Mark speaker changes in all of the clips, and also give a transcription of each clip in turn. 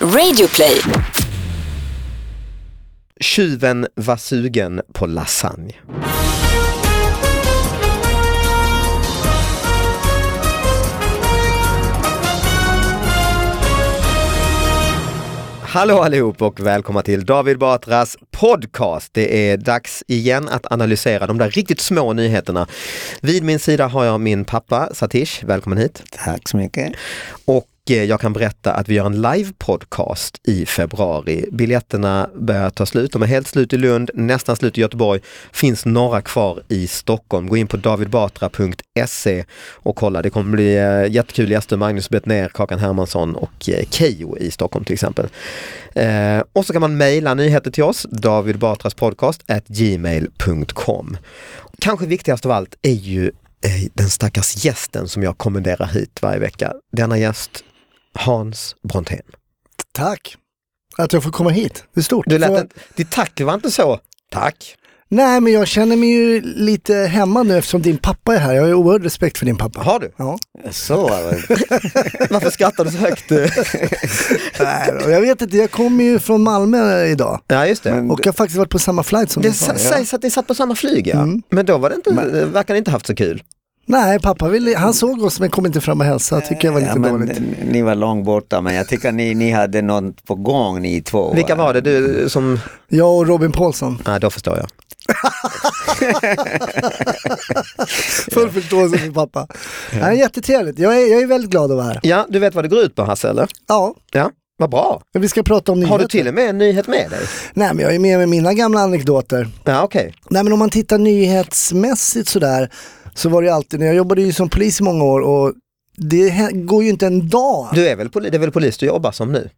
Speaker 1: Radioplay.
Speaker 2: Tjuven var sugen på lasagne. Hallå allihop och välkomna till David Batras podcast. Det är dags igen att analysera de där riktigt små nyheterna. Vid min sida har jag min pappa Satish, välkommen hit.
Speaker 3: Tack så mycket.
Speaker 2: Och eh, jag kan berätta att vi gör en live-podcast i februari. Biljetterna börjar ta slut, de är helt slut i Lund, nästan slut i Göteborg, finns några kvar i Stockholm. Gå in på davidbatra.se och kolla, det kommer bli eh, jättekul gäster, Magnus Bettner, Kakan Hermansson och eh, Keyyo i Stockholm till exempel. Eh, och så kan man mejla nyheter till oss, davidbatraspodcast@gmail.com. Kanske viktigast av allt är ju eh, den stackars gästen som jag kommenderar hit varje vecka. Denna gäst, Hans Brontén.
Speaker 3: Tack. Att jag får komma hit, det är stort.
Speaker 2: Du lät
Speaker 3: Får-
Speaker 2: en, ditt tack var inte så, tack.
Speaker 3: Nej, men jag känner mig ju lite hemma nu eftersom din pappa är här. Jag har ju oerhörd respekt för din pappa.
Speaker 2: Har du?
Speaker 3: Ja.
Speaker 4: Så var det.
Speaker 2: Varför skrattar du så högt?
Speaker 3: Nej, då, jag vet inte, jag kommer ju från Malmö idag.
Speaker 2: ja, just det.
Speaker 4: Men
Speaker 3: Och jag har faktiskt varit på samma flight som
Speaker 2: det
Speaker 3: din
Speaker 2: sa-
Speaker 3: pappa.
Speaker 2: sägs att ni satt på samma flyg, ja. Men då var det inte, verkar ni inte haft så kul.
Speaker 3: Nej, pappa ville, han såg oss men kom inte fram och hälsade. Tycker jag var lite
Speaker 4: ja, men,
Speaker 3: dåligt.
Speaker 4: ni- ni var långt borta men jag tycker ni, ni hade något på gång ni två.
Speaker 2: Vilka var det du som...
Speaker 3: Jag och Robin Paulsson.
Speaker 2: Nej, då förstår jag.
Speaker 3: Full förståelse för pappa. Nej, jättetrevligt. Jag är, jag är väldigt glad att vara här.
Speaker 2: Ja, du vet vad det går ut på Hasse, eller?
Speaker 3: Ja,
Speaker 2: Ja, vad bra.
Speaker 3: men vi ska prata om nyheter.
Speaker 2: Har du till och med en nyhet med dig?
Speaker 3: Nej, men jag är med med mina gamla anekdoter.
Speaker 2: Ja, okej.
Speaker 3: Nej men om man tittar nyhetsmässigt sådär så var det ju alltid, när jag jobbade ju som polis i många år och det hä- går ju inte en dag.
Speaker 2: Du är väl, poli- det är väl polis du jobbar som nu?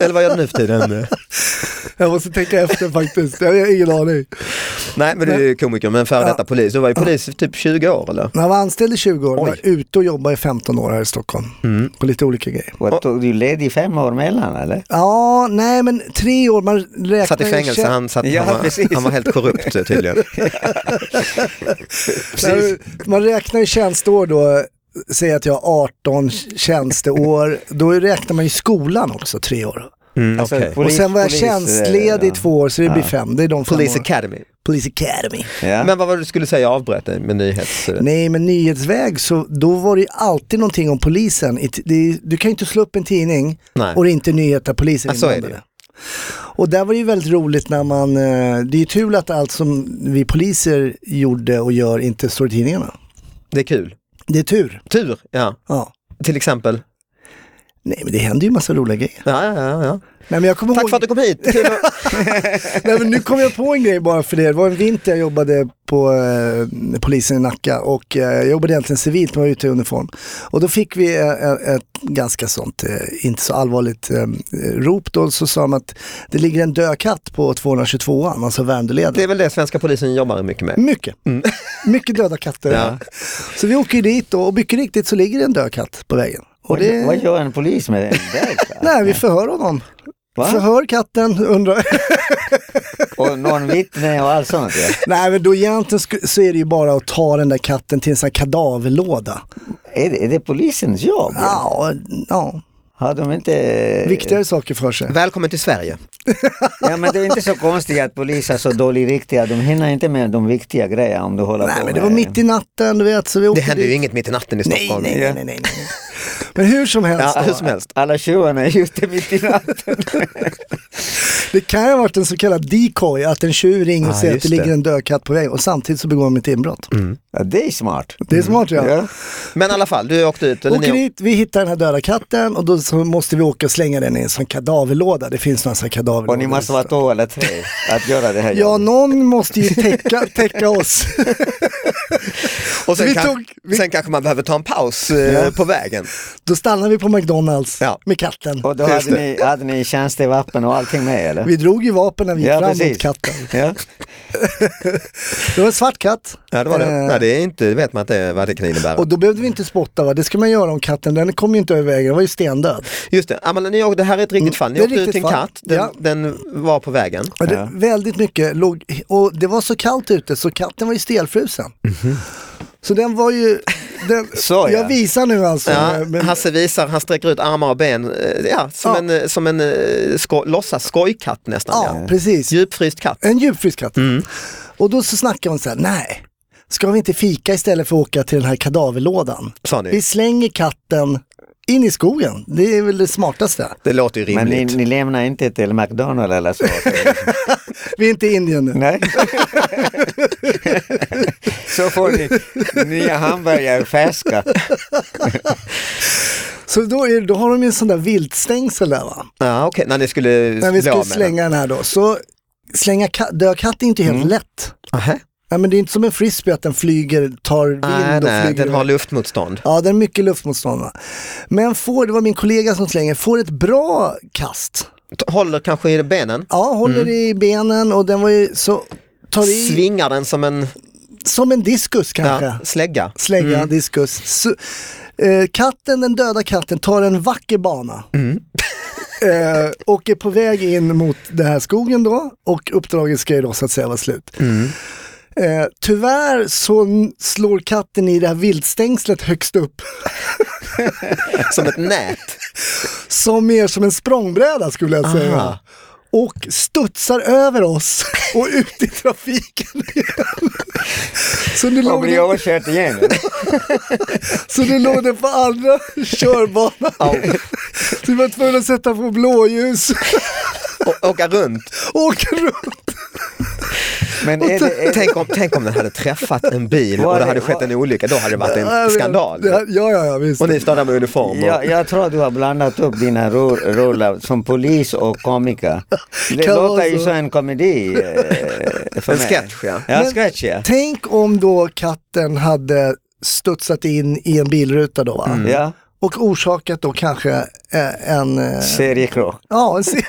Speaker 2: Eller vad gör du nu för tiden?
Speaker 3: Jag måste tänka efter faktiskt, jag har ingen aning.
Speaker 2: Nej men du är ju komiker men före detta polis, du var ju polis i typ 20 år eller?
Speaker 3: När jag var anställd i 20 år, var
Speaker 2: Oj.
Speaker 3: jag ute och jobbade i 15 år här i Stockholm. På lite olika grejer.
Speaker 4: Vad tog du led i fem år mellan eller?
Speaker 3: Ja, nej men tre år, man räknar
Speaker 2: Satt i
Speaker 3: ju
Speaker 2: fängelse,
Speaker 3: tjä-
Speaker 2: han, satt,
Speaker 4: Ja,
Speaker 2: han,
Speaker 4: precis.
Speaker 2: var, han var helt korrupt eh, tydligen.
Speaker 3: Nej, men Man räknar ju tjänsteår då, säg att jag har 18 tjänsteår, då räknar man ju skolan också, tre år.
Speaker 2: Mm,
Speaker 4: Alltså,
Speaker 2: okej.
Speaker 4: polis-
Speaker 3: och sen var jag
Speaker 4: polis, eh,
Speaker 3: tjänstledig i
Speaker 4: ja.
Speaker 3: två år, så det blir fem, det är de fem
Speaker 2: Police
Speaker 3: åren.
Speaker 2: Academy.
Speaker 3: Police Academy.
Speaker 4: Ja.
Speaker 2: Men vad var det du skulle säga, jag avbröt dig med nyhets...
Speaker 3: Nej men nyhetsväg så då var det ju alltid någonting om polisen. I t- det- Du kan ju inte slå upp en tidning
Speaker 2: Nej.
Speaker 3: och det är inte nyheter polisen
Speaker 2: Ja, så är det
Speaker 3: inblandade. Och där var det ju väldigt roligt när man, eh, det är ju tur att allt som vi poliser gjorde och gör inte står i tidningarna.
Speaker 2: Det är kul.
Speaker 3: Det är tur.
Speaker 2: Tur, ja.
Speaker 3: Ja.
Speaker 2: Till exempel.
Speaker 3: Nej men det händer ju massa roliga grejer.
Speaker 2: Ja, ja, ja, ja.
Speaker 3: Nej, men jag kommer
Speaker 2: Tack
Speaker 3: ihåg,
Speaker 2: för att du kom hit. Kul att-
Speaker 3: nej, men nu kom jag på en grej bara för det. Det var en vinter jag jobbade på eh, polisen i Nacka och eh, jag jobbade egentligen civilt men var ute i uniform. Och då fick vi eh, eh, ett ganska sånt, eh, inte så allvarligt eh, rop då, så sa de att det ligger en död katt på 222an, alltså Värmdöleden.
Speaker 2: Det är väl det svenska polisen jobbar mycket med.
Speaker 3: Mycket, mycket döda katter.
Speaker 2: Ja.
Speaker 3: Så vi åker ju dit då, och mycket riktigt så ligger det en död katt på vägen. Och
Speaker 4: Vad-
Speaker 3: det,
Speaker 4: Vad gör en polis med en väg?
Speaker 3: nej, vi förhör honom.
Speaker 4: Va?
Speaker 3: Förhör katten, undrar
Speaker 4: Och någon vittne och allt sånt ja.
Speaker 3: Nej men då egentligen sku- så är det ju bara att ta den där katten till en sån här kadaverlåda.
Speaker 4: Är det, är det polisens jobb?
Speaker 3: Ja, ja.
Speaker 4: Har de inte...
Speaker 3: viktigare saker för sig.
Speaker 2: Välkommen till Sverige.
Speaker 4: Ja men det är inte så konstigt att polisen har så dålig riktiga, de hinner inte med de viktiga grejerna om du håller på
Speaker 3: Nej men det var
Speaker 4: med-
Speaker 3: mitt i natten, du vet. Så vi åkte
Speaker 2: Det händer ju
Speaker 3: dit.
Speaker 2: inget mitt i natten i
Speaker 3: Nej,
Speaker 2: Stockholm.
Speaker 3: nej, nej, nej, nej. nej. Men hur som helst,
Speaker 2: Ja,
Speaker 3: då,
Speaker 2: hur som helst.
Speaker 4: Alla tjuvarna är ute mitt i natten.
Speaker 3: det kan ju ha varit en så kallad decoy, att en tjuv ringer och
Speaker 2: Ah,
Speaker 3: säger att
Speaker 2: just
Speaker 3: det ligger
Speaker 2: det.
Speaker 3: en död katt på väg och samtidigt så begår de ett inbrott.
Speaker 4: Ja, det är smart.
Speaker 3: Det är smart ja.
Speaker 4: Ja.
Speaker 2: Men i alla fall, du åkte ut. Eller
Speaker 3: Åker
Speaker 2: ni,
Speaker 3: dit, vi hittar den här döda katten och då så måste vi åka och slänga den i en sån kadaverlåda. Det finns några sådana kadaverlådor.
Speaker 4: Och ni måste vara två eller tre att göra det här
Speaker 3: Ja,
Speaker 4: jobbet.
Speaker 3: någon måste ju täcka, täcka oss.
Speaker 2: och sen,
Speaker 3: vi
Speaker 2: kan,
Speaker 3: tog- vi-
Speaker 2: sen kanske man behöver ta en paus eh, på vägen.
Speaker 3: Då stannar vi på McDonalds
Speaker 2: Ja.
Speaker 3: med katten.
Speaker 4: Och då hade ni, hade ni tjänstevapen och allting med eller?
Speaker 3: Vi drog ju vapen när vi gick
Speaker 4: Ja,
Speaker 3: fram
Speaker 4: precis.
Speaker 3: mot katten.
Speaker 4: Ja.
Speaker 3: Det var en svart katt.
Speaker 2: Ja, det var det.
Speaker 3: Eh,
Speaker 2: Nej, det är inte, det vet man inte vad det kan innebära.
Speaker 3: Och då behövde vi inte spotta va, det ska man göra om katten, den kom ju inte över vägen, den var ju stendöd.
Speaker 2: Just det, Amanda, ni, åkte- det här är ett riktigt fall. Ni
Speaker 3: Mm. det är
Speaker 2: åkte ut
Speaker 3: riktigt
Speaker 2: till en
Speaker 3: fall.
Speaker 2: katt, den,
Speaker 3: Ja.
Speaker 2: den var på vägen.
Speaker 3: Och det,
Speaker 4: Ja.
Speaker 3: Väldigt mycket låg,
Speaker 2: Mhm.
Speaker 3: och det var så kallt ute så katten var ju stelfrusen. Så den var ju, den,
Speaker 4: Så, ja.
Speaker 3: Jag visar nu alltså.
Speaker 2: Ja,
Speaker 3: men-
Speaker 2: Hasse visar, han sträcker ut armar och ben, eh, ja, som
Speaker 3: Ja.
Speaker 2: en, eh, som en eh, sko, låtsas skojkatt nästan.
Speaker 3: ja,
Speaker 2: Ja.
Speaker 3: precis.
Speaker 2: Djupfryst katt.
Speaker 3: En djupfryst katt.
Speaker 2: Mm.
Speaker 3: Och då så snackar hon så här, nej, ska vi inte fika istället för att åka till den här kadaverlådan?
Speaker 2: Sa
Speaker 3: Vi
Speaker 2: ni.
Speaker 3: slänger katten in i skogen. Det är väl det smartaste.
Speaker 2: Det låter ju
Speaker 4: Men ni,
Speaker 2: rimligt.
Speaker 4: ni lämnar inte till McDonalds eller så?
Speaker 3: Vi är inte i Indien nu.
Speaker 4: Nej. så får ni nya hamburgare färska.
Speaker 3: Så då, är, då har de ju en sån där viltstängsel där va?
Speaker 2: Ja, okej, när ni skulle
Speaker 3: När vi
Speaker 2: bli av med
Speaker 3: skulle
Speaker 2: den.
Speaker 3: slänga den här då. Så slänga ka- död katt är inte helt
Speaker 2: Mm.
Speaker 3: lätt.
Speaker 2: Aha.
Speaker 3: Nej, men det är inte som en frisbee att den flyger, tar vind
Speaker 2: Nej,
Speaker 3: och
Speaker 2: nej,
Speaker 3: flyger.
Speaker 2: den har luftmotstånd.
Speaker 3: Ja, den är mycket luftmotstånd. va? Men får, det var min kollega som slänger, får ett bra kast.
Speaker 2: T- Håller kanske i benen,
Speaker 3: Ja, håller i benen och den var ju så, tar i
Speaker 2: svingar den som en
Speaker 3: som en diskus kanske.
Speaker 2: ja, slägga.
Speaker 3: Slägga, diskus. Su- eh, katten, den döda katten, tar en vacker bana. eh, och är på väg in mot den här skogen då och uppdraget ska ju då så att säga vara slut. Eh, tyvärr så n- slår katten i det här viltstängslet högst upp
Speaker 2: Som ett nät.
Speaker 3: som mer som en språngbräda skulle jag säga.
Speaker 2: Aha.
Speaker 3: Och studsar över oss och ut i trafiken igen. Så nu
Speaker 4: Och
Speaker 3: låg
Speaker 4: blir
Speaker 3: den,
Speaker 4: överkört igen.
Speaker 3: så nu låg den på andra körbanan. Så vi var tvungna att sätta på blåljus
Speaker 2: Och åka runt.
Speaker 3: och åka runt.
Speaker 4: Men är det, är,
Speaker 2: Tänk om, tänk om den hade träffat en bil
Speaker 4: Var
Speaker 2: och det
Speaker 4: det-
Speaker 2: hade skett en olycka, då hade det varit en skandal.
Speaker 3: Det här- Ja, ja, ja, visst.
Speaker 2: Och ni står där med uniform. Och...
Speaker 4: jag, jag tror du har blandat upp dina ro- roller som polis och komiker. Det
Speaker 3: Kan vara
Speaker 4: låter ju
Speaker 3: så.
Speaker 4: som en komedi. Eh, för
Speaker 2: En
Speaker 4: mig.
Speaker 2: sketch, ja.
Speaker 4: Ja,
Speaker 3: Men-
Speaker 4: sketch ja.
Speaker 3: Tänk om då katten hade studsat in i en bilruta då va?
Speaker 2: Mm.
Speaker 4: ja.
Speaker 3: Och orsakat då kanske eh, en... eh,
Speaker 4: Seriekrock.
Speaker 3: Ja, en serie.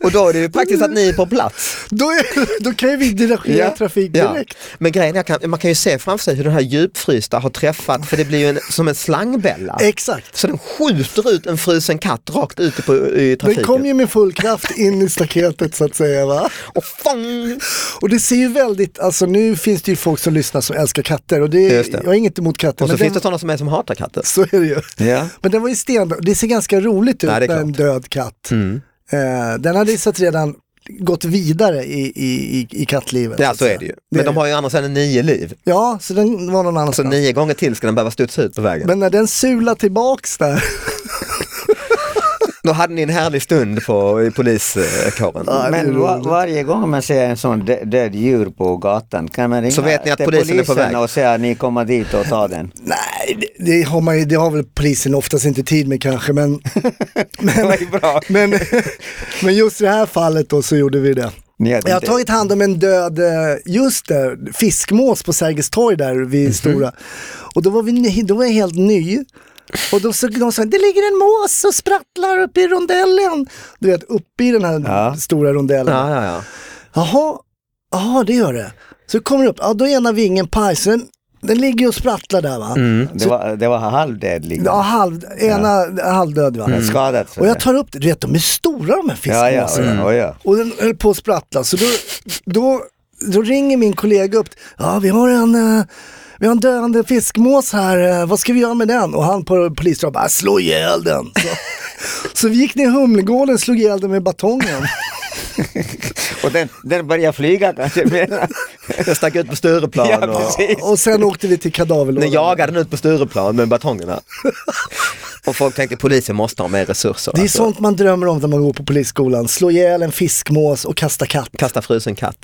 Speaker 2: Och då är det ju praktiskt att ni är på plats.
Speaker 3: Då, är, då kan ju vi dirigera
Speaker 4: Ja,
Speaker 3: trafik
Speaker 2: Ja.
Speaker 3: direkt.
Speaker 2: Men grejen är, kan, man kan ju se framför sig hur den här djupfrysta har träffat, för det blir ju en, som en slangbälla.
Speaker 3: Exakt.
Speaker 2: Så den skjuter ut en frusen katt rakt ute på, i
Speaker 3: Den
Speaker 2: trafiken.
Speaker 3: kom ju med full kraft in i staketet så att säga va.
Speaker 2: Och fång!
Speaker 3: Och det ser ju väldigt, alltså nu finns det ju folk som lyssnar som älskar katter och det,
Speaker 2: Just det.
Speaker 3: jag har inget emot katter.
Speaker 2: Och så
Speaker 3: men
Speaker 2: finns
Speaker 3: den,
Speaker 2: det sådana som är som hatar katter.
Speaker 3: så är det ju.
Speaker 4: Ja.
Speaker 3: Men den var ju sten, det ser ganska roligt ut
Speaker 2: Nej, det är Mm.
Speaker 3: med en död katt. Eh, den hade ju sett redan gått vidare i, i, i, i kattlivet.
Speaker 2: Ja,
Speaker 3: att
Speaker 2: så är
Speaker 3: säga.
Speaker 2: det ju. Men de har ju annars än nio liv.
Speaker 3: Ja, så den var någon
Speaker 2: Så
Speaker 3: annanstans.
Speaker 2: nio gånger till ska den behöva studsa ut på vägen.
Speaker 3: Men när den sular tillbaks där,
Speaker 2: Då hade ni en härlig stund på, i poliskåren.
Speaker 4: Men va- varje gång man ser en sån dö- död djur på gatan kan man ringa
Speaker 2: Så vet ni att
Speaker 4: till
Speaker 2: polisen är på väg.
Speaker 4: och säga ni kommer dit och tar den.
Speaker 3: nej det, det, har man ju, det har väl polisen oftast inte tid med kanske men,
Speaker 4: Det var ju bra.
Speaker 3: men, men just i det här fallet då så gjorde vi det.
Speaker 4: Ni hade
Speaker 3: Jag har
Speaker 4: inte-
Speaker 3: tagit hand om en död, eh, just det, fiskmås på Sergels torg där vid
Speaker 4: Mhm.
Speaker 3: Stora. Och då var, vi, ny- då var jag helt ny. Och då så, de sa, det ligger en mås och sprattlar uppe i rondellen. Du vet, uppe i den här
Speaker 4: Ja.
Speaker 3: stora rondellen.
Speaker 2: Ja, ja, ja.
Speaker 3: Jaha, ja det gör det. Så kommer det upp, ja då är ena vingen paj, så den, den ligger och sprattlar där va.
Speaker 2: Mm.
Speaker 4: Det var, det var halvdöd liksom.
Speaker 3: Ja, halv, ena halvdöd va.
Speaker 4: Skadad. så
Speaker 3: Och jag
Speaker 4: det.
Speaker 3: tar upp det, du vet de är stora de här fiskmåsarna.
Speaker 4: Mm. Ja, ja,
Speaker 2: Mm.
Speaker 4: ja, ja, ja.
Speaker 3: Och den höll på att sprattla. Så då, då, då ringer min kollega upp. Ja, vi har en, eh, vi har en döende fiskmås här. eh, Vad ska vi göra med den? Och han på polisstationen bara, slå ihjäl den. Så, så vi gick ner i Humlegården och slog ihjäl den med batongen.
Speaker 4: Och den, den började flyga kanske. mer.
Speaker 2: Jag stack ut på Stureplan
Speaker 4: Ja,
Speaker 2: och
Speaker 4: precis.
Speaker 3: Och sen åkte vi till
Speaker 2: ni
Speaker 3: kadaverlådan.
Speaker 2: jagade den ut på Stureplan med batongerna. Och folk tänkte polisen måste ha mer resurser.
Speaker 3: Det är
Speaker 2: alltså.
Speaker 3: sånt man drömmer om när man går på polisskolan. Slå ihjäl en fiskmås och kasta katt.
Speaker 2: Kasta frusen katt.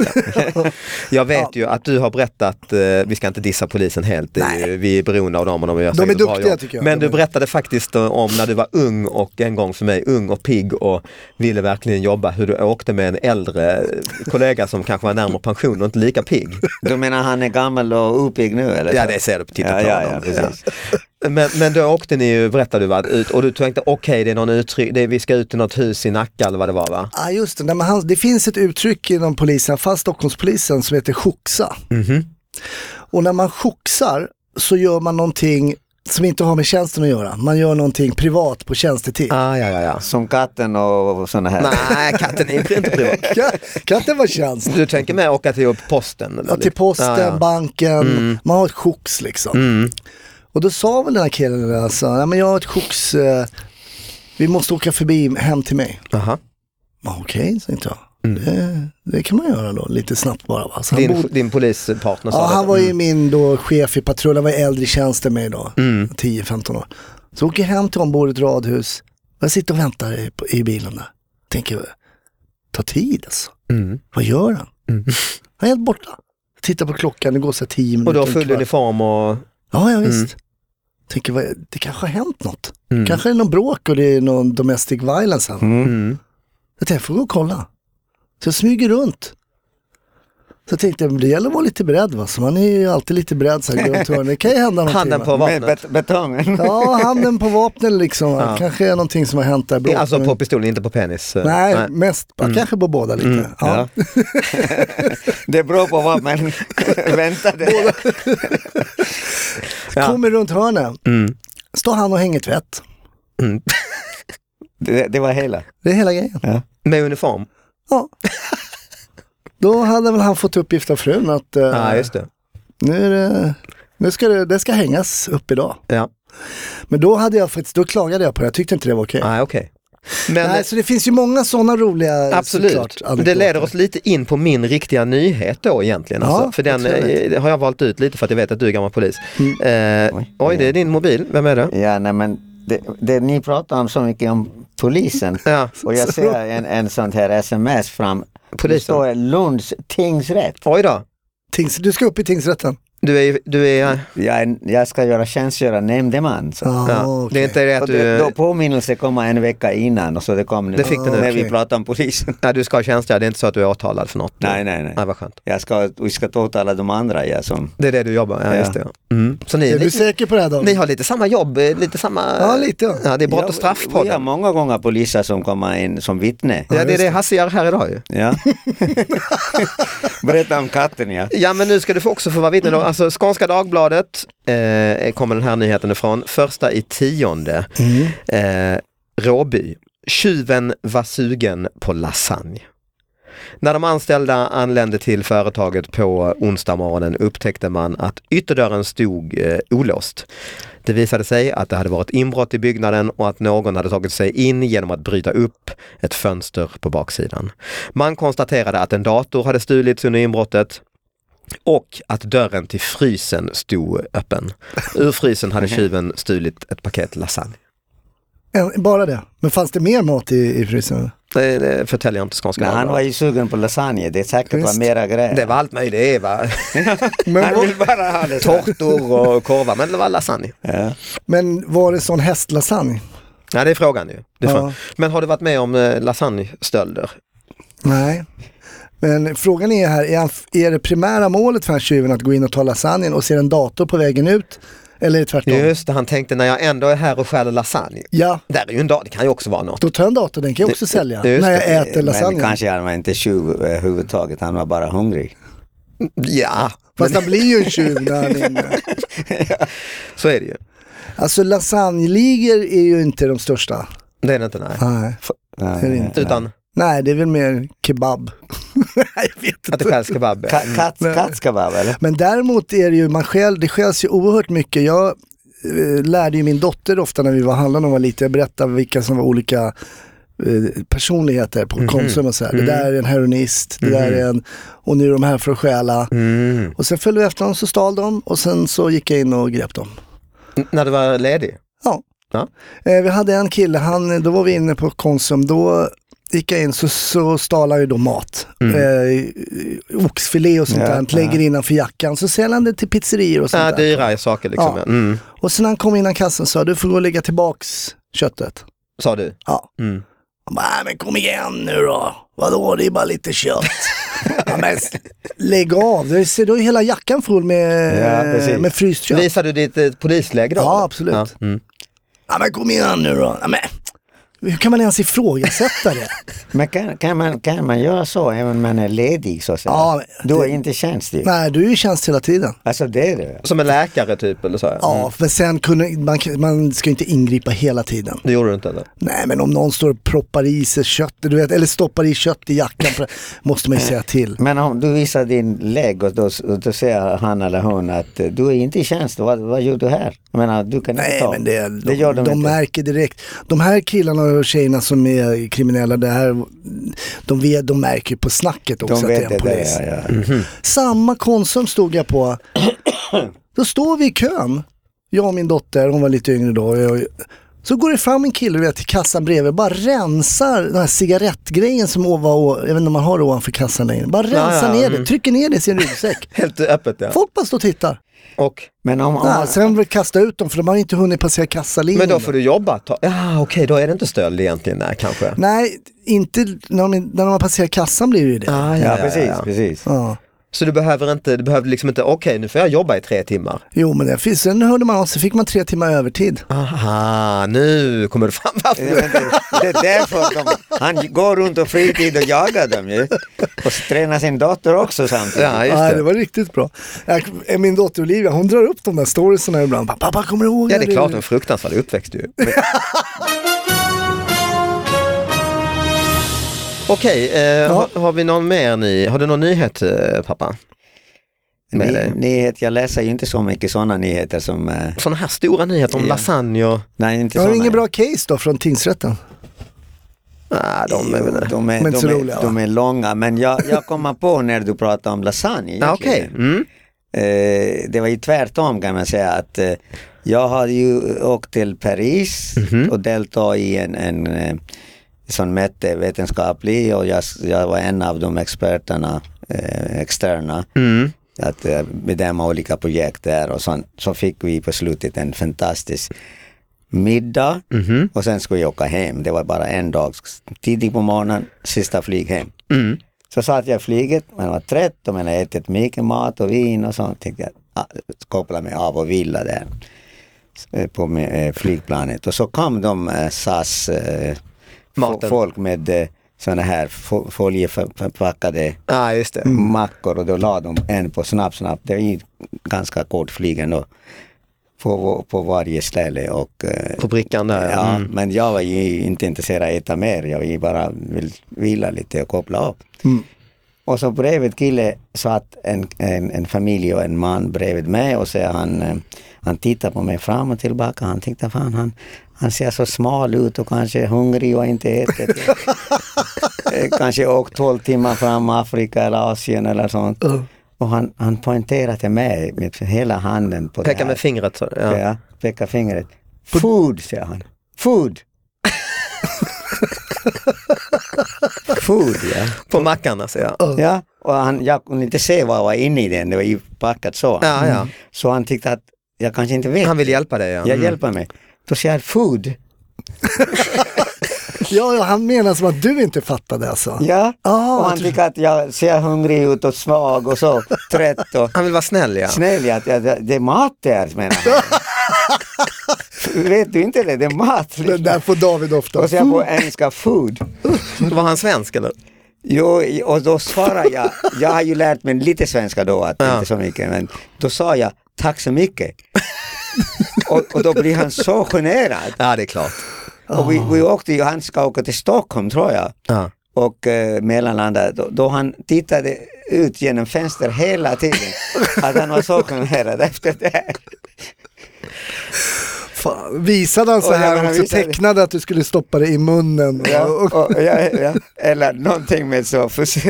Speaker 2: ja. Jag vet ju att du har berättat, eh, vi ska inte dissa polisen helt, det är ju, vi är beroende av dem och de gör
Speaker 3: De
Speaker 2: säkert
Speaker 3: är
Speaker 2: ett bra
Speaker 3: duktiga,
Speaker 2: jobb.
Speaker 3: tycker jag.
Speaker 2: Men
Speaker 3: De
Speaker 2: du
Speaker 3: är-
Speaker 2: berättade faktiskt eh, om när du var ung och en gång för mig, ung och pigg och ville verkligen jobba, hur du åkte med en äldre kollega som kanske var närmare pension och inte lika pigg.
Speaker 4: Du menar han är gammal och opig nu eller?
Speaker 2: Ja det ser du på
Speaker 4: ja,
Speaker 2: titelplanen.
Speaker 4: ja, ja, precis.
Speaker 2: Men, men då åkte ni ju, berättade du, va, ut och du tänkte okej det är någon uttryck, det är, vi ska ut i något hus i Nacka eller vad det var va?
Speaker 3: Ja ah, just det, Nej, men han, det finns ett uttryck inom polisen, fast Stockholmspolisen,
Speaker 2: Mhm.
Speaker 3: som heter choxa. Och när man choxar så gör man någonting som inte har med tjänsten att göra. Man gör någonting privat på tjänstetid.
Speaker 2: Ah, ja, ja, ja.
Speaker 4: Som katten och sådana här.
Speaker 2: Nej, katten är inte privat.
Speaker 3: Ka- Katten var tjänst.
Speaker 2: Du tänker med åka till posten? eller
Speaker 3: Ja, till
Speaker 2: lite?
Speaker 3: posten,
Speaker 2: Ja, Mm. ja.
Speaker 3: banken, man har ett choks liksom. Och då sa väl den här killen, där, alltså, Nej, men jag har ett choks, eh, vi måste åka förbi hem till mig.
Speaker 2: Aha.
Speaker 3: Ja, Okej, sa inte jag. Det, det kan man göra då, lite snabbt bara. Va? Så han
Speaker 2: Mm. Din,
Speaker 3: bodde-
Speaker 2: din polispartner sa
Speaker 3: ja,
Speaker 2: detta.
Speaker 3: han var ju
Speaker 2: Mm.
Speaker 3: min då chef i patrullen, han var äldre i tjänsten med idag,
Speaker 2: Mm,
Speaker 3: 10-15 år. Så åker jag hem till honom, bor i ett radhus. Och Jag sitter och väntar i, på- i bilen där. Tänker, ta tid alltså.
Speaker 2: Mm.
Speaker 3: Vad gör han? Han är helt borta. Jag tittar på klockan, det går så här 10 minuter.
Speaker 2: Och du har
Speaker 3: en
Speaker 2: full
Speaker 3: kvart.
Speaker 2: uniform och...
Speaker 3: Ja, ja visst. Tänker, vad, det kanske har hänt något.
Speaker 2: Mm.
Speaker 3: Kanske är det någon bråk och det är någon domestic violence här.
Speaker 2: Mm.
Speaker 3: Jag tänkte, jag får gå och kolla. Så jag smyger runt. Så jag tänkte, men det gäller att vara lite beredd va, så man är ju alltid lite beredd så här, går runt hörnet. det kan ju hända någonting.
Speaker 2: Handen
Speaker 3: va?
Speaker 2: på
Speaker 4: Med
Speaker 2: vapnet.
Speaker 4: bet- betongen.
Speaker 3: Ja, handen på vapnen liksom. va.
Speaker 2: Ja.
Speaker 3: Kanske är någonting som har hänt där.
Speaker 2: Det
Speaker 3: bråk.
Speaker 2: är Alltså på Mm.
Speaker 3: Men-
Speaker 2: pistolen, inte på penis.
Speaker 3: Nej, mest på- kanske på båda lite. Ja.
Speaker 4: Det beror på vad man väntade.
Speaker 2: Ja.
Speaker 3: Kommer runt hörnet,
Speaker 2: Mm.
Speaker 3: står han och hänger tvätt.
Speaker 4: Det, det var hela.
Speaker 3: Det är hela grejen.
Speaker 2: Med uniform?
Speaker 3: Ja. Då hade väl han fått uppgift av frun att eh,
Speaker 2: Ja, just det.
Speaker 3: nu, är det, nu ska det, det ska hängas upp idag.
Speaker 2: Ja,
Speaker 3: Men då, hade jag faktiskt, då klagade jag på det, jag tyckte inte det var okej.
Speaker 2: Nej, okej. Men
Speaker 3: Nej, så det finns ju många sådana roliga
Speaker 2: absolut,
Speaker 3: såklart,
Speaker 2: det
Speaker 3: anekdoter.
Speaker 2: leder oss lite in på min riktiga nyhet då egentligen.
Speaker 3: Ja,
Speaker 2: alltså. För den
Speaker 3: vad trevligt. Mm.
Speaker 2: eh, har jag valt ut lite för att jag vet att du är gammal polis. Eh,
Speaker 4: Oj.
Speaker 2: oj, det är din mobil. Vem är det?
Speaker 4: Ja, nej, men det, det ni pratar om så mycket om polisen.
Speaker 2: Ja.
Speaker 4: Och jag ser en, en sån här sms fram. Det
Speaker 2: Polisen.
Speaker 4: står Lunds tingsrätt.
Speaker 2: Oj då,
Speaker 3: Tings, du ska upp i tingsrätten.
Speaker 2: du är... Du är
Speaker 4: Jag, är- jag ska göra tjänstgöra nämndeman. Så.
Speaker 3: Ah,
Speaker 2: ja.
Speaker 3: okej.
Speaker 2: Det är inte det att
Speaker 4: Och det, då
Speaker 2: du,
Speaker 4: påminnelse kommer en vecka innan och så det kom nu.
Speaker 2: Det fick du nu.
Speaker 4: När vi
Speaker 3: Okej.
Speaker 4: pratade om polisen.
Speaker 2: nej, du ska ha tjänstgöra, det är inte så att du är åtalad för något.
Speaker 4: Nej, nej, nej.
Speaker 2: Nej, vad skönt.
Speaker 4: Jag ska, vi ska åtala de andra. Ja, som,
Speaker 2: Det är det du jobbar, ja,
Speaker 4: Ja.
Speaker 2: just det. ja. Mm. Så ni,
Speaker 3: Är
Speaker 2: är
Speaker 3: du
Speaker 2: lite,
Speaker 3: säker på det här David?
Speaker 2: ni har lite samma jobb, eh, lite samma...
Speaker 3: Ja, lite, ja.
Speaker 2: Ja, det är brott
Speaker 4: Ja,
Speaker 2: och
Speaker 4: Vi har
Speaker 2: straffpodden.
Speaker 4: många gånger poliser som kommer in som vittne.
Speaker 2: Ja, det är det Hasse gör här idag ju.
Speaker 4: Ja. Berätta om katten ja.
Speaker 2: Ja men nu ska du få också få vara vittne då. Alltså Skånska Dagbladet eh, kommer den här nyheten ifrån. Första i tionde. Eh, Råby. Tjuven var sugen på lasagne. När de anställda anlände till företaget på onsdag morgonen upptäckte man att ytterdörren stod eh, olåst. Det visade sig att det hade varit inbrott i byggnaden och att någon hade tagit sig in genom att bryta upp ett fönster på baksidan. Man konstaterade att en dator hade stulits under inbrottet och att dörren till frysen stod öppen. Ur frysen hade tjuven stulit ett paket lasagne.
Speaker 3: En, bara det. Men fanns det mer mat i, i frysen?
Speaker 2: Det, det förtäljer jag inte Skånska
Speaker 4: Nej, han var
Speaker 2: Dagbladet.
Speaker 4: ju sugen på lasagne, det är säkert var
Speaker 3: Visst.
Speaker 4: mera grejer.
Speaker 2: Det var allt möjligt, det var
Speaker 3: Men,
Speaker 4: Han
Speaker 3: var,
Speaker 4: vill bara ha det.
Speaker 2: tårtor och korvar, men det var lasagne.
Speaker 4: Ja.
Speaker 3: men var det sån hästlasagne?
Speaker 2: Ja, det är frågan ju. Det är
Speaker 3: Ja.
Speaker 2: frågan. Men har du varit med om eh, lasagnestölder?
Speaker 3: Nej. Men frågan är här, är, han, är det primära målet för den här tjuven att gå in och ta lasagnen och se en dator på vägen ut? Eller är det tvärtom?
Speaker 2: Just det, han tänkte när jag ändå är här och stjäl lasagne.
Speaker 3: Ja,
Speaker 2: Där är ju en dag, det kan ju också vara något.
Speaker 3: då tar jag en dator, den kan jag också sälja
Speaker 2: just
Speaker 3: när jag
Speaker 2: det.
Speaker 3: äter
Speaker 4: Men
Speaker 3: lasagne.
Speaker 4: kanske han var inte tjuv överhuvudtaget, han var bara hungrig.
Speaker 2: Ja,
Speaker 3: Fast han blir ju en tjuv när han är inne.
Speaker 2: så är det ju.
Speaker 3: Alltså lasagneligor är ju inte de största.
Speaker 2: Det är det inte, nej.
Speaker 3: Nej,
Speaker 4: Ja,
Speaker 3: det är det inte.
Speaker 2: Utan
Speaker 3: Nej det är väl mer kebab. Nej, jag vet
Speaker 2: att det
Speaker 3: inte.
Speaker 2: stjäls kebab.
Speaker 4: Ka- Katt, katt ska vara väl?
Speaker 3: Men däremot är det ju, man skäl, det skäls ju oerhört mycket. Jag eh, lärde ju min dotter ofta när vi var och handlade när hon var liten, jag berättade vilka som var olika eh, personligheter på
Speaker 2: Mhm.
Speaker 3: Konsum och så här. Det där är en heroinist, det där är en, och nu är de här för att stjäla.
Speaker 2: Mm.
Speaker 3: Och sen följde vi efter dem, så stal de och sen så gick jag in och grep dem.
Speaker 2: N- När du var ledig?
Speaker 3: Ja.
Speaker 2: Ja.
Speaker 3: Eh, vi hade en kille, han, då var vi inne på Konsum, då gick jag in så, så stal han ju då mat. Eh, oxfilé och sånt
Speaker 4: Mm. Ja,
Speaker 3: där, lägger innanför jackan, så säljer han det till pizzerior och sånt
Speaker 2: Ja,
Speaker 3: där.
Speaker 2: dyra saker liksom.
Speaker 3: Ja.
Speaker 2: Ja. Mm.
Speaker 3: Och sen när han kom innan kassen sa du får gå och lägga tillbaks köttet.
Speaker 2: Sa du?
Speaker 3: Ja.
Speaker 2: Mm.
Speaker 3: Han bara, "Nej, men kom igen nu då. Vadå, det är bara lite kött. ja, men s- lägg av, du ser, du har ju hela jackan full med,
Speaker 4: Ja, precis.
Speaker 3: med fryst kött.
Speaker 2: Visar du ditt eh, polisläge då?
Speaker 3: Ja,
Speaker 2: eller?
Speaker 3: absolut.
Speaker 2: Ja. Mm.
Speaker 3: Ja, men kom igen nu då. Ja, men. Hur kan man ens ifrågasätta det?
Speaker 4: Men kan, kan, man, kan man göra så även om man är ledig så att säga?
Speaker 3: Ja, men
Speaker 4: du är
Speaker 3: det-
Speaker 4: inte tjänstig.
Speaker 3: Nej, du är ju i tjänst hela tiden.
Speaker 4: Alltså det är det.
Speaker 2: Som en läkare typ eller så? här?
Speaker 3: Ja,
Speaker 4: Mm.
Speaker 3: men sen kunde, man, man ska ju inte ingripa hela tiden.
Speaker 2: Det gjorde du inte eller?
Speaker 3: Nej, men om någon står och proppar i sig kött, du vet, eller stoppar i kött i jackan, för- måste man ju säga till.
Speaker 4: Men om du visar din lägg och då, då säger han eller hon att eh, du är inte i tjänst, vad, vad gör du här? Jag menar, du kan inte
Speaker 3: Nej,
Speaker 4: ta.
Speaker 3: men det, de,
Speaker 4: det gör de,
Speaker 3: de
Speaker 4: inte.
Speaker 3: märker direkt. De här killarna och tjejerna som är kriminella, det här, de, vet, de märker ju på snacket också
Speaker 4: de
Speaker 3: att det
Speaker 4: vet
Speaker 3: är en
Speaker 4: det. det
Speaker 3: polis. Mm-hmm.
Speaker 4: ja, ja.
Speaker 3: Samma Konsum stod jag på. Då står vi i kön, jag och min dotter, hon var lite yngre då. och Jag, så går det fram en kille du vet, till kassan bredvid, bara rensar den här cigarettgrejen som var, å- jag vet inte om man har det ovanför kassan längre. Bara rensar
Speaker 2: ja,
Speaker 3: ner
Speaker 2: mm.
Speaker 3: det, trycker ner det i sin ryggsäck.
Speaker 2: Helt öppet ja.
Speaker 3: Folk bara står och tittar.
Speaker 2: Och,
Speaker 4: Men om, om
Speaker 3: Ja,
Speaker 4: man-
Speaker 3: sen vill kasta ut dem för de har inte hunnit passera kassalinjen.
Speaker 2: men då får du jobba ett tag. Ja, okej, då är det inte stöld egentligen. Nej, kanske.
Speaker 3: Nej, inte när de, när de har passerat kassan blir det ju det.
Speaker 2: Ah,
Speaker 4: ja, precis, precis.
Speaker 3: Ja.
Speaker 2: Så du behöver inte, du behöver liksom inte, okej nu får jag jobba i tre timmar.
Speaker 3: Jo men det finns, sen hörde man av sig, fick man tre timmar övertid.
Speaker 2: Aha, nu kommer du fram varför
Speaker 4: Det,
Speaker 2: du
Speaker 4: men det, det är därför de, han går runt och fritid och jagar dem ju. Och tränar sin dotter också samtidigt.
Speaker 2: Ja, just
Speaker 3: Ja, det.
Speaker 2: det.
Speaker 3: var riktigt bra. Jag, eh, min dotter Olivia, hon drar upp de där storiesarna ibland. Pappa, kommer du ihåg?
Speaker 2: Ja, det
Speaker 3: när
Speaker 2: är
Speaker 3: du-
Speaker 2: klart, en fruktansvärd uppväxt ju. Men- Okej, eh, har, har vi någon mer ny? Har du någon nyhet eh, pappa? Med
Speaker 4: Ny,
Speaker 2: dig?
Speaker 4: nyhet, jag läser ju inte så mycket sådana nyheter som... eh,
Speaker 2: Sådana här stora nyheter om
Speaker 4: Ja.
Speaker 2: lasagne och...
Speaker 4: Nej, inte
Speaker 3: Jag har
Speaker 4: såna.
Speaker 3: inget bra case då från tingsrätten.
Speaker 2: Nej, Ah, de är väl...
Speaker 4: Jo, de, är,
Speaker 3: Men
Speaker 4: de,
Speaker 3: inte så
Speaker 4: är,
Speaker 3: roliga, va?
Speaker 4: de är långa, men jag, jag kommer på när du pratade om lasagne.
Speaker 2: Ah,
Speaker 4: egentligen.
Speaker 2: Okej, mm.
Speaker 4: Eh, det var ju tvärtom kan man säga. att eh, Jag har ju åkt till Paris och deltagit i en, en eh, som mätte vetenskaplig och jag, jag var en av de experterna, eh, externa,
Speaker 2: Mm.
Speaker 4: att eh, bedöma olika projekt där och sånt. Så fick vi på slutet en fantastisk middag
Speaker 2: Mhm.
Speaker 4: och sen skulle jag åka hem. Det var bara en dag, tidigt på morgonen, sista flyg hem.
Speaker 2: Mm.
Speaker 4: Så satt jag i flyget, man var trött och man hade ätit mycket mat och vin och sånt. Tänkte jag ah, koppla mig av och vila där eh, på med, eh, flygplanet. Och så kom de eh, SAS eh, fo-
Speaker 2: Maten.
Speaker 4: folk med eh, såna här fo- folieförpackade eh,
Speaker 2: Ja, Ah, just det.
Speaker 4: mackor och då la de en på snabb snabb. Det är ju ganska kort flyg ändå. På, på varje ställe och eh,
Speaker 2: På brickan där.
Speaker 4: Ja,
Speaker 2: Mm.
Speaker 4: men jag var ju inte intresserad av att äta mer. Jag ville bara vill vila lite och koppla av.
Speaker 3: Mm.
Speaker 4: Och så bredvid kille satt en, en, en familj och en man bredvid mig och så han, eh, han tittar på mig fram och tillbaka. Han tänkte fan han, han ser så smal ut och kanske är hungrig och inte ätit. Eh, kanske åkt 12 timmar fram Afrika eller Asien eller sånt.
Speaker 3: Uh.
Speaker 4: Och han, han poängterar till mig med hela handen på det
Speaker 2: Peka
Speaker 4: här.
Speaker 2: med fingret så.
Speaker 4: Ja.
Speaker 2: Ja.
Speaker 4: pekar fingret. Food, säger han. Food. Food, ja.
Speaker 2: På mackan alltså, ja.
Speaker 4: ja. Och han, jag kunde inte se vad var inne i den, det var ju packat så. Mm.
Speaker 2: Ja, ja.
Speaker 4: Så han tyckte att jag kanske inte vet.
Speaker 2: Han vill hjälpa dig ja.
Speaker 4: Jag
Speaker 2: Mm.
Speaker 4: hjälper mig. Då säger han food.
Speaker 3: Ja, ja, han menar som att du inte fattade alltså.
Speaker 4: Ja.
Speaker 3: Ah,
Speaker 4: och
Speaker 3: jag
Speaker 4: han
Speaker 3: tror-
Speaker 4: tycker att jag ser hungrig ut och svag och så trött och
Speaker 2: Han vill vara snäll ja.
Speaker 4: snäll. Jag, jag, det det är mat där, menar han. Vet du inte det? Det är mat. liksom.
Speaker 3: Den där får David ofta.
Speaker 4: Och så jag på engelska food.
Speaker 2: Var han svensk eller?
Speaker 4: Jo, och då svarade jag, jag har ju lärt mig lite svenska då, att inte så mycket, men då sa jag tack så mycket. och, och då blir han så generad.
Speaker 2: Ja, det är klart.
Speaker 4: Och vi, vi åkte ju, han ska åka till Stockholm tror jag,
Speaker 2: Ja.
Speaker 4: och eh, mellanlanda, då, då han tittade ut genom fönster hela tiden. att han var så generad efter det. här.
Speaker 3: Fan, visade han så
Speaker 4: Och jag
Speaker 3: här
Speaker 4: menar,
Speaker 3: också,
Speaker 4: visade-
Speaker 3: tecknade att du skulle stoppa det i munnen.
Speaker 4: Ja,
Speaker 3: Och, och,
Speaker 4: och, ja, ja, eller någonting med så. förs-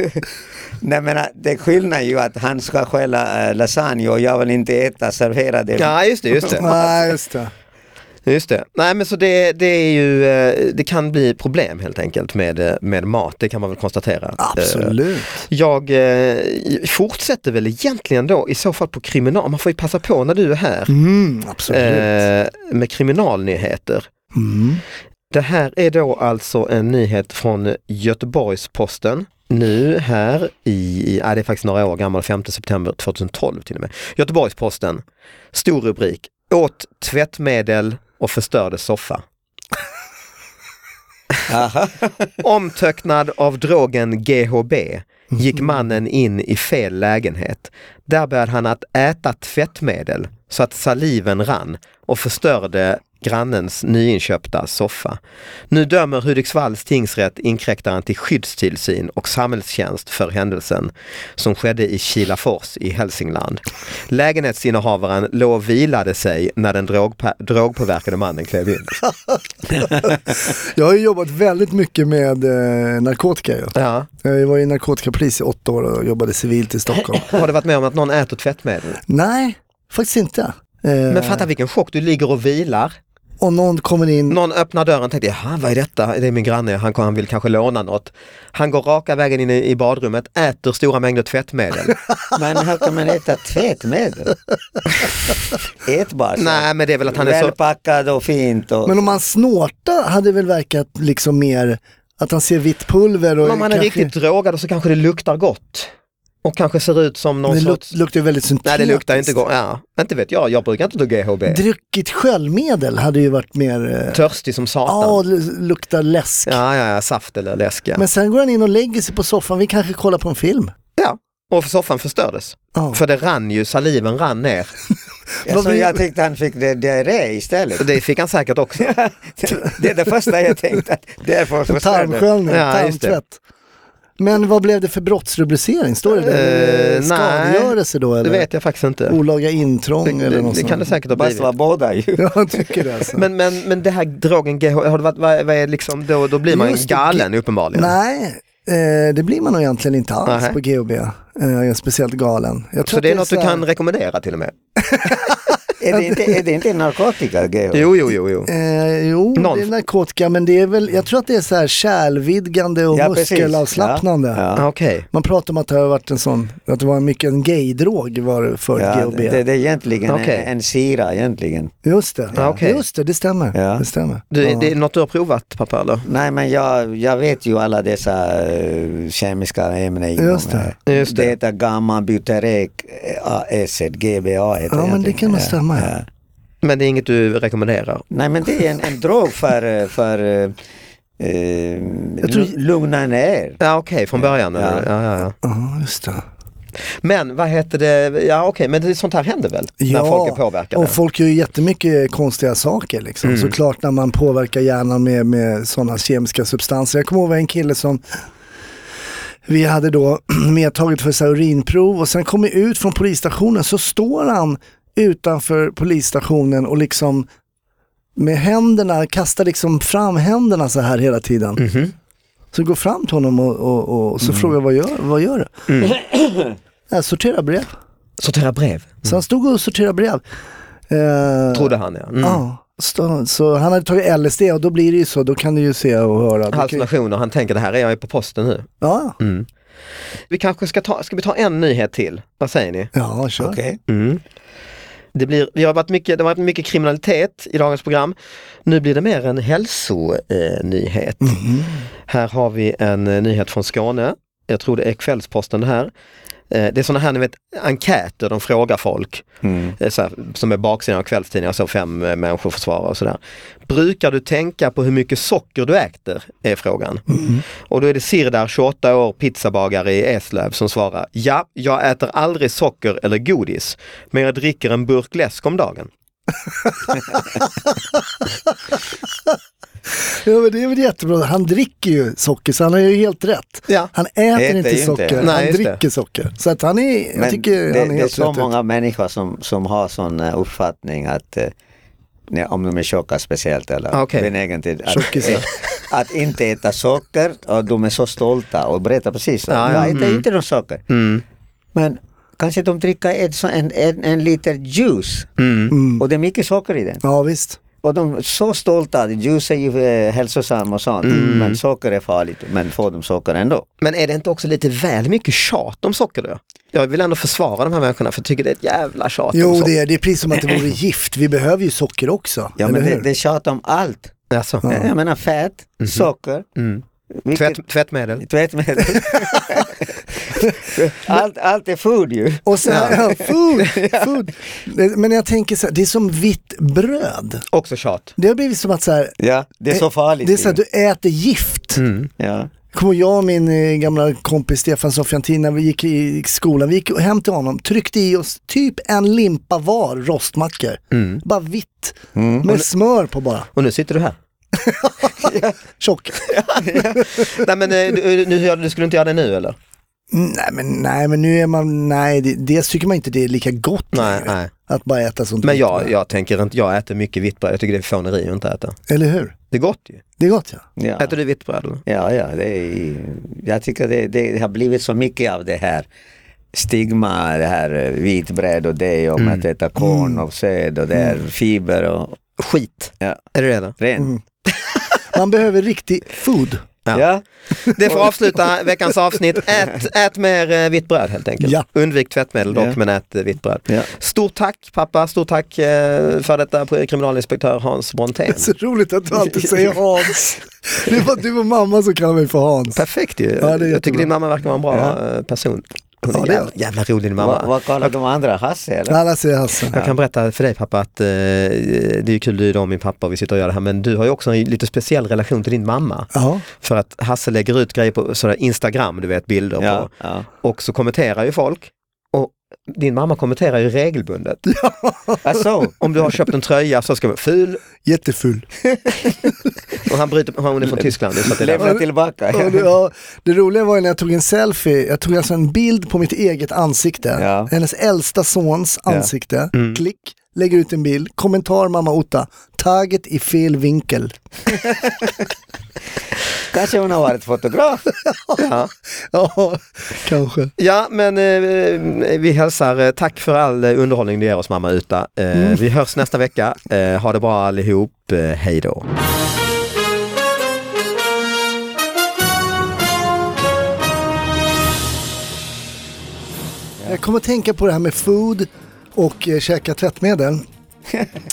Speaker 4: Nej men att det skillnad ju att han ska skälla eh, lasagne och jag vill inte äta serverade.
Speaker 2: Ja, just det, just det.
Speaker 3: nej, just det.
Speaker 2: Just det. Nej, men så det, det är ju, eh, det kan bli problem helt enkelt med, eh, med mat, det kan man väl konstatera. Eh,
Speaker 3: Absolut.
Speaker 2: Jag eh, fortsätter väl egentligen då i så fall på kriminal, man får ju passa på när du är här,
Speaker 3: Mm, absolut.
Speaker 2: eh, med kriminalnyheter.
Speaker 3: Mm.
Speaker 2: Det här är då alltså en nyhet från Göteborgs-Posten. Nu här i, ja det är faktiskt några år gammal, 5 september 2012 till och med. Göteborgs-Posten, stor rubrik, åt tvättmedel och förstörde soffa.
Speaker 4: Aha.
Speaker 2: Omtöcknad av drogen GHB gick mannen in i fel lägenhet. Där började han att äta tvättmedel så att saliven rann och förstörde grannens nyinköpta soffa. Nu dömer Hudiksvalls tingsrätt inkräktaren till skyddstillsyn och samhällstjänst för händelsen som skedde i Kilafors i Hälsingland. Lägenhetsinnehavaren låg och vilade sig när den drogpa- drogpåverkade mannen klev in.
Speaker 3: Jag har ju jobbat väldigt mycket med eh, narkotika. Ju.
Speaker 2: Ja.
Speaker 3: Jag var ju narkotikapolis i åtta år och jobbade civilt i Stockholm.
Speaker 2: Har du varit med om att någon äter tvättmedel?
Speaker 3: Nej, faktiskt inte. Eh,
Speaker 2: Men fatta vilken chock, du ligger och vilar.
Speaker 3: och någon kommer in
Speaker 2: Någon öppnar dörren och tänkte, jaha vad är detta? Det är min granne, han, han vill kanske låna något. Han går raka vägen in i i badrummet, äter stora mängder tvättmedel.
Speaker 4: Men hur kan man äta tvättmedel? Ätbar. så.
Speaker 2: Nej men det är väl att han är så...
Speaker 4: Välpackad och fint. Och...
Speaker 3: Men om han snortar hade väl verkat liksom mer att han ser vitt pulver och
Speaker 2: Men om man är
Speaker 3: kanske-
Speaker 2: riktigt drogad och så kanske det luktar gott. Och kanske ser ut som någon
Speaker 3: Men det luk-
Speaker 2: sorts...
Speaker 3: luktar ju väldigt syntetiskt.
Speaker 2: Nej det luktar inte gott, ja. Inte vet jag, jag brukar inte ta GHB.
Speaker 3: Druckit sköljmedel hade ju varit mer, eh,
Speaker 2: Törstig som
Speaker 3: ja
Speaker 2: satan.
Speaker 3: lu- luktar läsk.
Speaker 2: Ja, ja, ja, saft eller läsk ja.
Speaker 3: Men sen går han in och lägger sig på soffan, vi kanske kollar på en film.
Speaker 2: ja. Och soffan förstördes.
Speaker 3: Ja.
Speaker 2: För det rann ju, saliven rann ner.
Speaker 4: Alltså, jag tyckte han fick det diarré istället.
Speaker 2: Så Det fick han säkert också.
Speaker 4: Det är det första jag tänkte. Att därför förstörde jag.
Speaker 3: Tarmsköljning,
Speaker 2: Ja, just det.
Speaker 3: tarmtvätt. Men vad blev det för brottsrubricering? Står det där?
Speaker 2: Eh, nej.
Speaker 3: Skadegörelse då
Speaker 2: Det
Speaker 3: eller?
Speaker 2: vet jag faktiskt inte.
Speaker 3: Olaga intrång eller
Speaker 2: Det,
Speaker 3: något
Speaker 2: det kan det
Speaker 3: sånt?
Speaker 2: säkert ha
Speaker 4: Fast
Speaker 2: blivit.
Speaker 4: var båda ju.
Speaker 3: Ja, Jag tycker det alltså.
Speaker 2: Men, men, men det här drogen GH, har det varit, vad, vad är liksom, då, då blir man ju
Speaker 3: Just det,
Speaker 2: galen uppenbarligen.
Speaker 3: Nej, eh, det blir man nog egentligen inte alls
Speaker 2: Nej.
Speaker 3: på GHB. Eh, jag är speciellt galen. Jag
Speaker 2: Så
Speaker 3: tror att
Speaker 2: det är något du
Speaker 3: så här-
Speaker 2: kan rekommendera till och med?
Speaker 4: Är det inte, är det inte narkotika? Geo?
Speaker 2: Jo, jo, jo. jo.
Speaker 3: Eh, jo,
Speaker 2: Någon-
Speaker 3: det är narkotika, men det är väl, jag tror att det är så här kärlvidgande och
Speaker 4: Ja, precis.
Speaker 3: muskelavslappnande.
Speaker 4: Ja, ja.
Speaker 2: Ah, Okej.
Speaker 3: Man pratar om att det har varit en sån, att det var mycket en gaydrog var det för
Speaker 4: Ja,
Speaker 3: GHB.
Speaker 4: det, det är egentligen
Speaker 2: Okej.
Speaker 4: en, en sira egentligen.
Speaker 3: Just det,
Speaker 2: Ja, okej.
Speaker 3: just det, det stämmer.
Speaker 4: Ja.
Speaker 3: Det stämmer.
Speaker 2: Du,
Speaker 3: Ja.
Speaker 2: Det är något du har provat pappa eller?
Speaker 4: Nej men jag, jag vet ju alla dessa eh, kemiska ämnen. inom
Speaker 3: Just det.
Speaker 4: här.
Speaker 2: Just det.
Speaker 4: det heter gamma buterek acid, GBA heter
Speaker 3: Ja, men det kan nog
Speaker 4: Ja,
Speaker 3: stämma, ja.
Speaker 2: Men det är inget du rekommenderar?
Speaker 4: Nej men det är en, en drog för, eh, för eh, eh,
Speaker 3: tror-
Speaker 4: lu- lugna ner.
Speaker 2: Ja okej, från början. eller? Ja. Ja, ja,
Speaker 3: Ja, just det.
Speaker 2: Men vad heter det, ja okej, men det, sånt här händer väl?
Speaker 3: Ja,
Speaker 2: När folk är påverkade? Mm.
Speaker 3: och folk gör ju jättemycket konstiga saker. Liksom. Såklart när man påverkar hjärnan med, med sådana kemiska substanser. Jag kommer ihåg en kille som vi hade då medtaget för så här urinprov och sen kom vi ut från polisstationen så står han utanför polisstationen och liksom med händerna, kastar liksom fram händerna så här hela tiden.
Speaker 2: Mhm.
Speaker 3: Så går fram till honom och, och, och, så
Speaker 2: Mm.
Speaker 3: frågar vad gör, vad gör du? Jag sorterar brev.
Speaker 2: Sortera brev?
Speaker 3: Så han stod och sorterade brev. Eh,
Speaker 2: Trodde han ja. Mm.
Speaker 3: Ja, stå, så han hade tagit LSD och då blir det ju så, då kan du ju se och höra. Du kan, ju-
Speaker 2: Hallucinationer, han tänker det här är jag ju på posten nu.
Speaker 3: ja,
Speaker 2: Vi kanske ska ta, ska vi ta en nyhet till? Vad säger ni?
Speaker 3: ja, kör.
Speaker 4: Okej.
Speaker 2: Mm. Det, blir, vi har varit mycket, det har varit mycket kriminalitet i dagens program. Nu blir det mer en hälsonyhet. Eh, nyhet. Här har vi en eh, nyhet från Skåne. Jag tror det är Kvällsposten det här. Eh, det är sådana här ni vet, enkäter, de frågar folk. Eh, så här, som är baksidan av kvällstidningar, så fem eh, människor försvarar och sådär. Brukar du tänka på hur mycket socker du äter? Är frågan.
Speaker 3: Mm.
Speaker 2: Och då är det Sirdar, 28 år, pizzabagare i Eslöv som svarar Ja, jag äter aldrig socker eller godis, men jag dricker en burk läsk om dagen.
Speaker 3: Ja, men det är väl jättebra, han dricker ju socker så han har ju helt rätt.
Speaker 2: Ja.
Speaker 3: Han äter,
Speaker 4: Äter
Speaker 3: inte
Speaker 4: ju inte.
Speaker 3: socker,
Speaker 2: Nej,
Speaker 3: han
Speaker 2: just det.
Speaker 3: dricker socker. Så att han är, jag
Speaker 4: Men
Speaker 3: tycker
Speaker 4: det,
Speaker 3: han är
Speaker 4: det är
Speaker 3: helt
Speaker 4: så
Speaker 3: rätt. ut.
Speaker 4: många människor som, som har sån eh, uppfattning att eh, nej, om de är tjocka speciellt eller
Speaker 2: Ah, okej.
Speaker 4: benägen till att,
Speaker 3: Tjockisar.
Speaker 4: eh, att inte äta socker och de är så stolta och berättar precis så.
Speaker 2: Ja, ja.
Speaker 3: Ah,
Speaker 4: Jag äter
Speaker 3: Mm.
Speaker 4: inte någon socker. Men kanske de dricker ett, så- en, en, en liter juice
Speaker 3: Mm.
Speaker 4: och det är mycket socker i den.
Speaker 3: Ja, visst.
Speaker 4: Och de är så stolta, juice är ju eh, hälsosam och sånt
Speaker 3: Mm.
Speaker 4: men socker är farligt men får de socker ändå.
Speaker 2: Men är det inte också lite väl mycket tjat om socker då? Jag vill ändå försvara de här människorna för jag tycker det är ett jävla tjat om
Speaker 3: Jo,
Speaker 2: socker.
Speaker 3: det är, det är precis som att det vore gift. Vi behöver ju socker också.
Speaker 4: Ja
Speaker 3: eller
Speaker 4: men det,
Speaker 3: hur?
Speaker 4: det är tjat om allt.
Speaker 2: Alltså.
Speaker 4: Jag menar fett, socker, Vilket-
Speaker 2: Tvätt, tvättmedel.
Speaker 4: Tvättmedel. allt, allt är food ju.
Speaker 3: Och sen, ja. food, food. Det- Men jag tänker så här, det är som vitt bröd.
Speaker 2: Också tjat.
Speaker 3: Det har blivit som att så här,
Speaker 4: Ja, det är så farligt.
Speaker 3: det är så här,
Speaker 4: ju.
Speaker 3: du äter gift.
Speaker 2: Mm.
Speaker 4: ja.
Speaker 3: Kommer jag och min eh, gamla kompis Stefan Sofiantin när vi gick i skolan, vi gick hem till honom, tryckte i oss typ en limpa var rostmackor.
Speaker 2: Mm.
Speaker 3: Bara vitt,
Speaker 4: Mm.
Speaker 3: med smör på bara.
Speaker 2: Och nu sitter du här.
Speaker 3: Tjock.
Speaker 2: Nej men eh, du, nu, gör- du skulle inte göra det nu eller?
Speaker 3: Nej men, nej men nu är man, nej det, dels tycker man inte det är lika gott
Speaker 2: Nej,
Speaker 3: längre,
Speaker 2: nej.
Speaker 3: att bara äta sånt.
Speaker 2: Men
Speaker 3: vitt
Speaker 2: jag,
Speaker 3: bröd.
Speaker 2: jag tänker inte, jag äter mycket vitt bröd. Jag tycker det är fåneri att inte äta.
Speaker 3: Eller hur?
Speaker 2: Det är gott ju.
Speaker 3: Det är gott ja.
Speaker 4: Ja.
Speaker 2: Äter du vitt bröd? eller?
Speaker 4: Ja, ja, det är, jag tycker det, det har blivit så mycket av det här stigma, det här eh, vitbröd och det om att äta korn och säd och det är fiber och
Speaker 2: Skit.
Speaker 4: ja,
Speaker 2: Är det det? då?
Speaker 4: rent.
Speaker 3: Mm. Man behöver riktig food.
Speaker 2: Ja.
Speaker 4: Ja.
Speaker 2: Det får avsluta veckans avsnitt. Ät, ät mer eh, vitt bröd helt enkelt.
Speaker 3: Ja.
Speaker 2: Undvik tvättmedel dock,
Speaker 4: Ja.
Speaker 2: men ät eh, vitt bröd.
Speaker 4: Ja.
Speaker 2: Stort tack pappa, stort tack eh, för detta kriminalinspektör Hans Brontén.
Speaker 3: Så roligt att du alltid säger Hans. Det är bara du och mamma som kallar mig för Hans.
Speaker 2: Perfekt ju.
Speaker 3: det är
Speaker 2: jag
Speaker 3: jättebra.
Speaker 2: tycker din mamma verkar vara en bra
Speaker 4: Ja.
Speaker 2: eh, person. Hon
Speaker 3: Ja,
Speaker 2: är
Speaker 3: det är
Speaker 2: jävla, jävla rolig din mamma.
Speaker 4: Vad, vad kallar de andra? Hasse eller?
Speaker 3: Alla säger Hasse.
Speaker 2: Jag kan berätta för dig pappa att eh, det är ju kul du är idag min pappa och vi sitter och gör det här men du har ju också en lite speciell relation till din mamma.
Speaker 3: Ja.
Speaker 2: För att Hasse lägger ut grejer på sådär Instagram, du vet bilder
Speaker 4: Ja,
Speaker 2: på.
Speaker 4: ja.
Speaker 2: Och så kommenterar ju folk. Och din mamma kommenterar ju regelbundet.
Speaker 4: Alltså,
Speaker 2: Om du har köpt en tröja så ska man ful
Speaker 3: Jättefull.
Speaker 2: och han bryter, hon är från Tyskland. Så att det är
Speaker 4: lämna tillbaka.
Speaker 3: Ja, det, ja, det roliga var ju när jag tog en selfie, jag tog alltså en bild på mitt eget ansikte.
Speaker 4: Ja.
Speaker 3: Hennes äldsta sons
Speaker 4: Ja.
Speaker 3: ansikte. Klick, lägger ut en bild, kommentar mamma Otta, taget i fel vinkel.
Speaker 4: Kanske hon har varit fotograf?
Speaker 2: ja.
Speaker 3: Ja, kanske.
Speaker 2: ja men eh, vi hälsar eh, tack för all eh, underhållning du ger oss mamma Uta. Eh, Vi hörs nästa vecka. Eh, ha det bra allihop. Eh, hej då.
Speaker 3: Jag kommer att tänka på det här med food och eh, käka tvättmedel.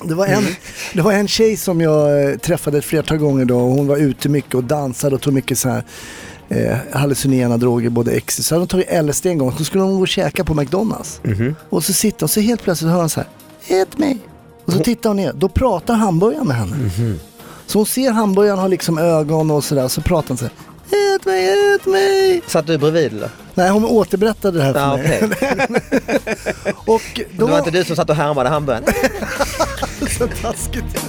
Speaker 3: Det var, en, det var en tjej som jag eh, träffade ett flertal gånger då och hon var ute mycket och dansade och tog mycket så här eh, hallucinogena droger, både ecstasy. Så hade hon tagit LSD en gång så skulle hon gå och käka på McDonalds.
Speaker 2: Mhm.
Speaker 3: Och så sitter hon så helt plötsligt hör hon så här, ät mig. Och så tittar hon ner, då pratar hamburgaren med henne.
Speaker 2: Mhm.
Speaker 3: Så hon ser hamburgaren har liksom ögon och sådär, så pratar hon så här, ät mig, ät mig.
Speaker 2: Satt du bredvid eller?
Speaker 3: Nej, hon återberättade det här för
Speaker 2: Ja,
Speaker 3: mig.
Speaker 2: okej.
Speaker 3: Och då...
Speaker 2: Det var inte du som satt och härmade hamburgaren?
Speaker 3: så taskigt.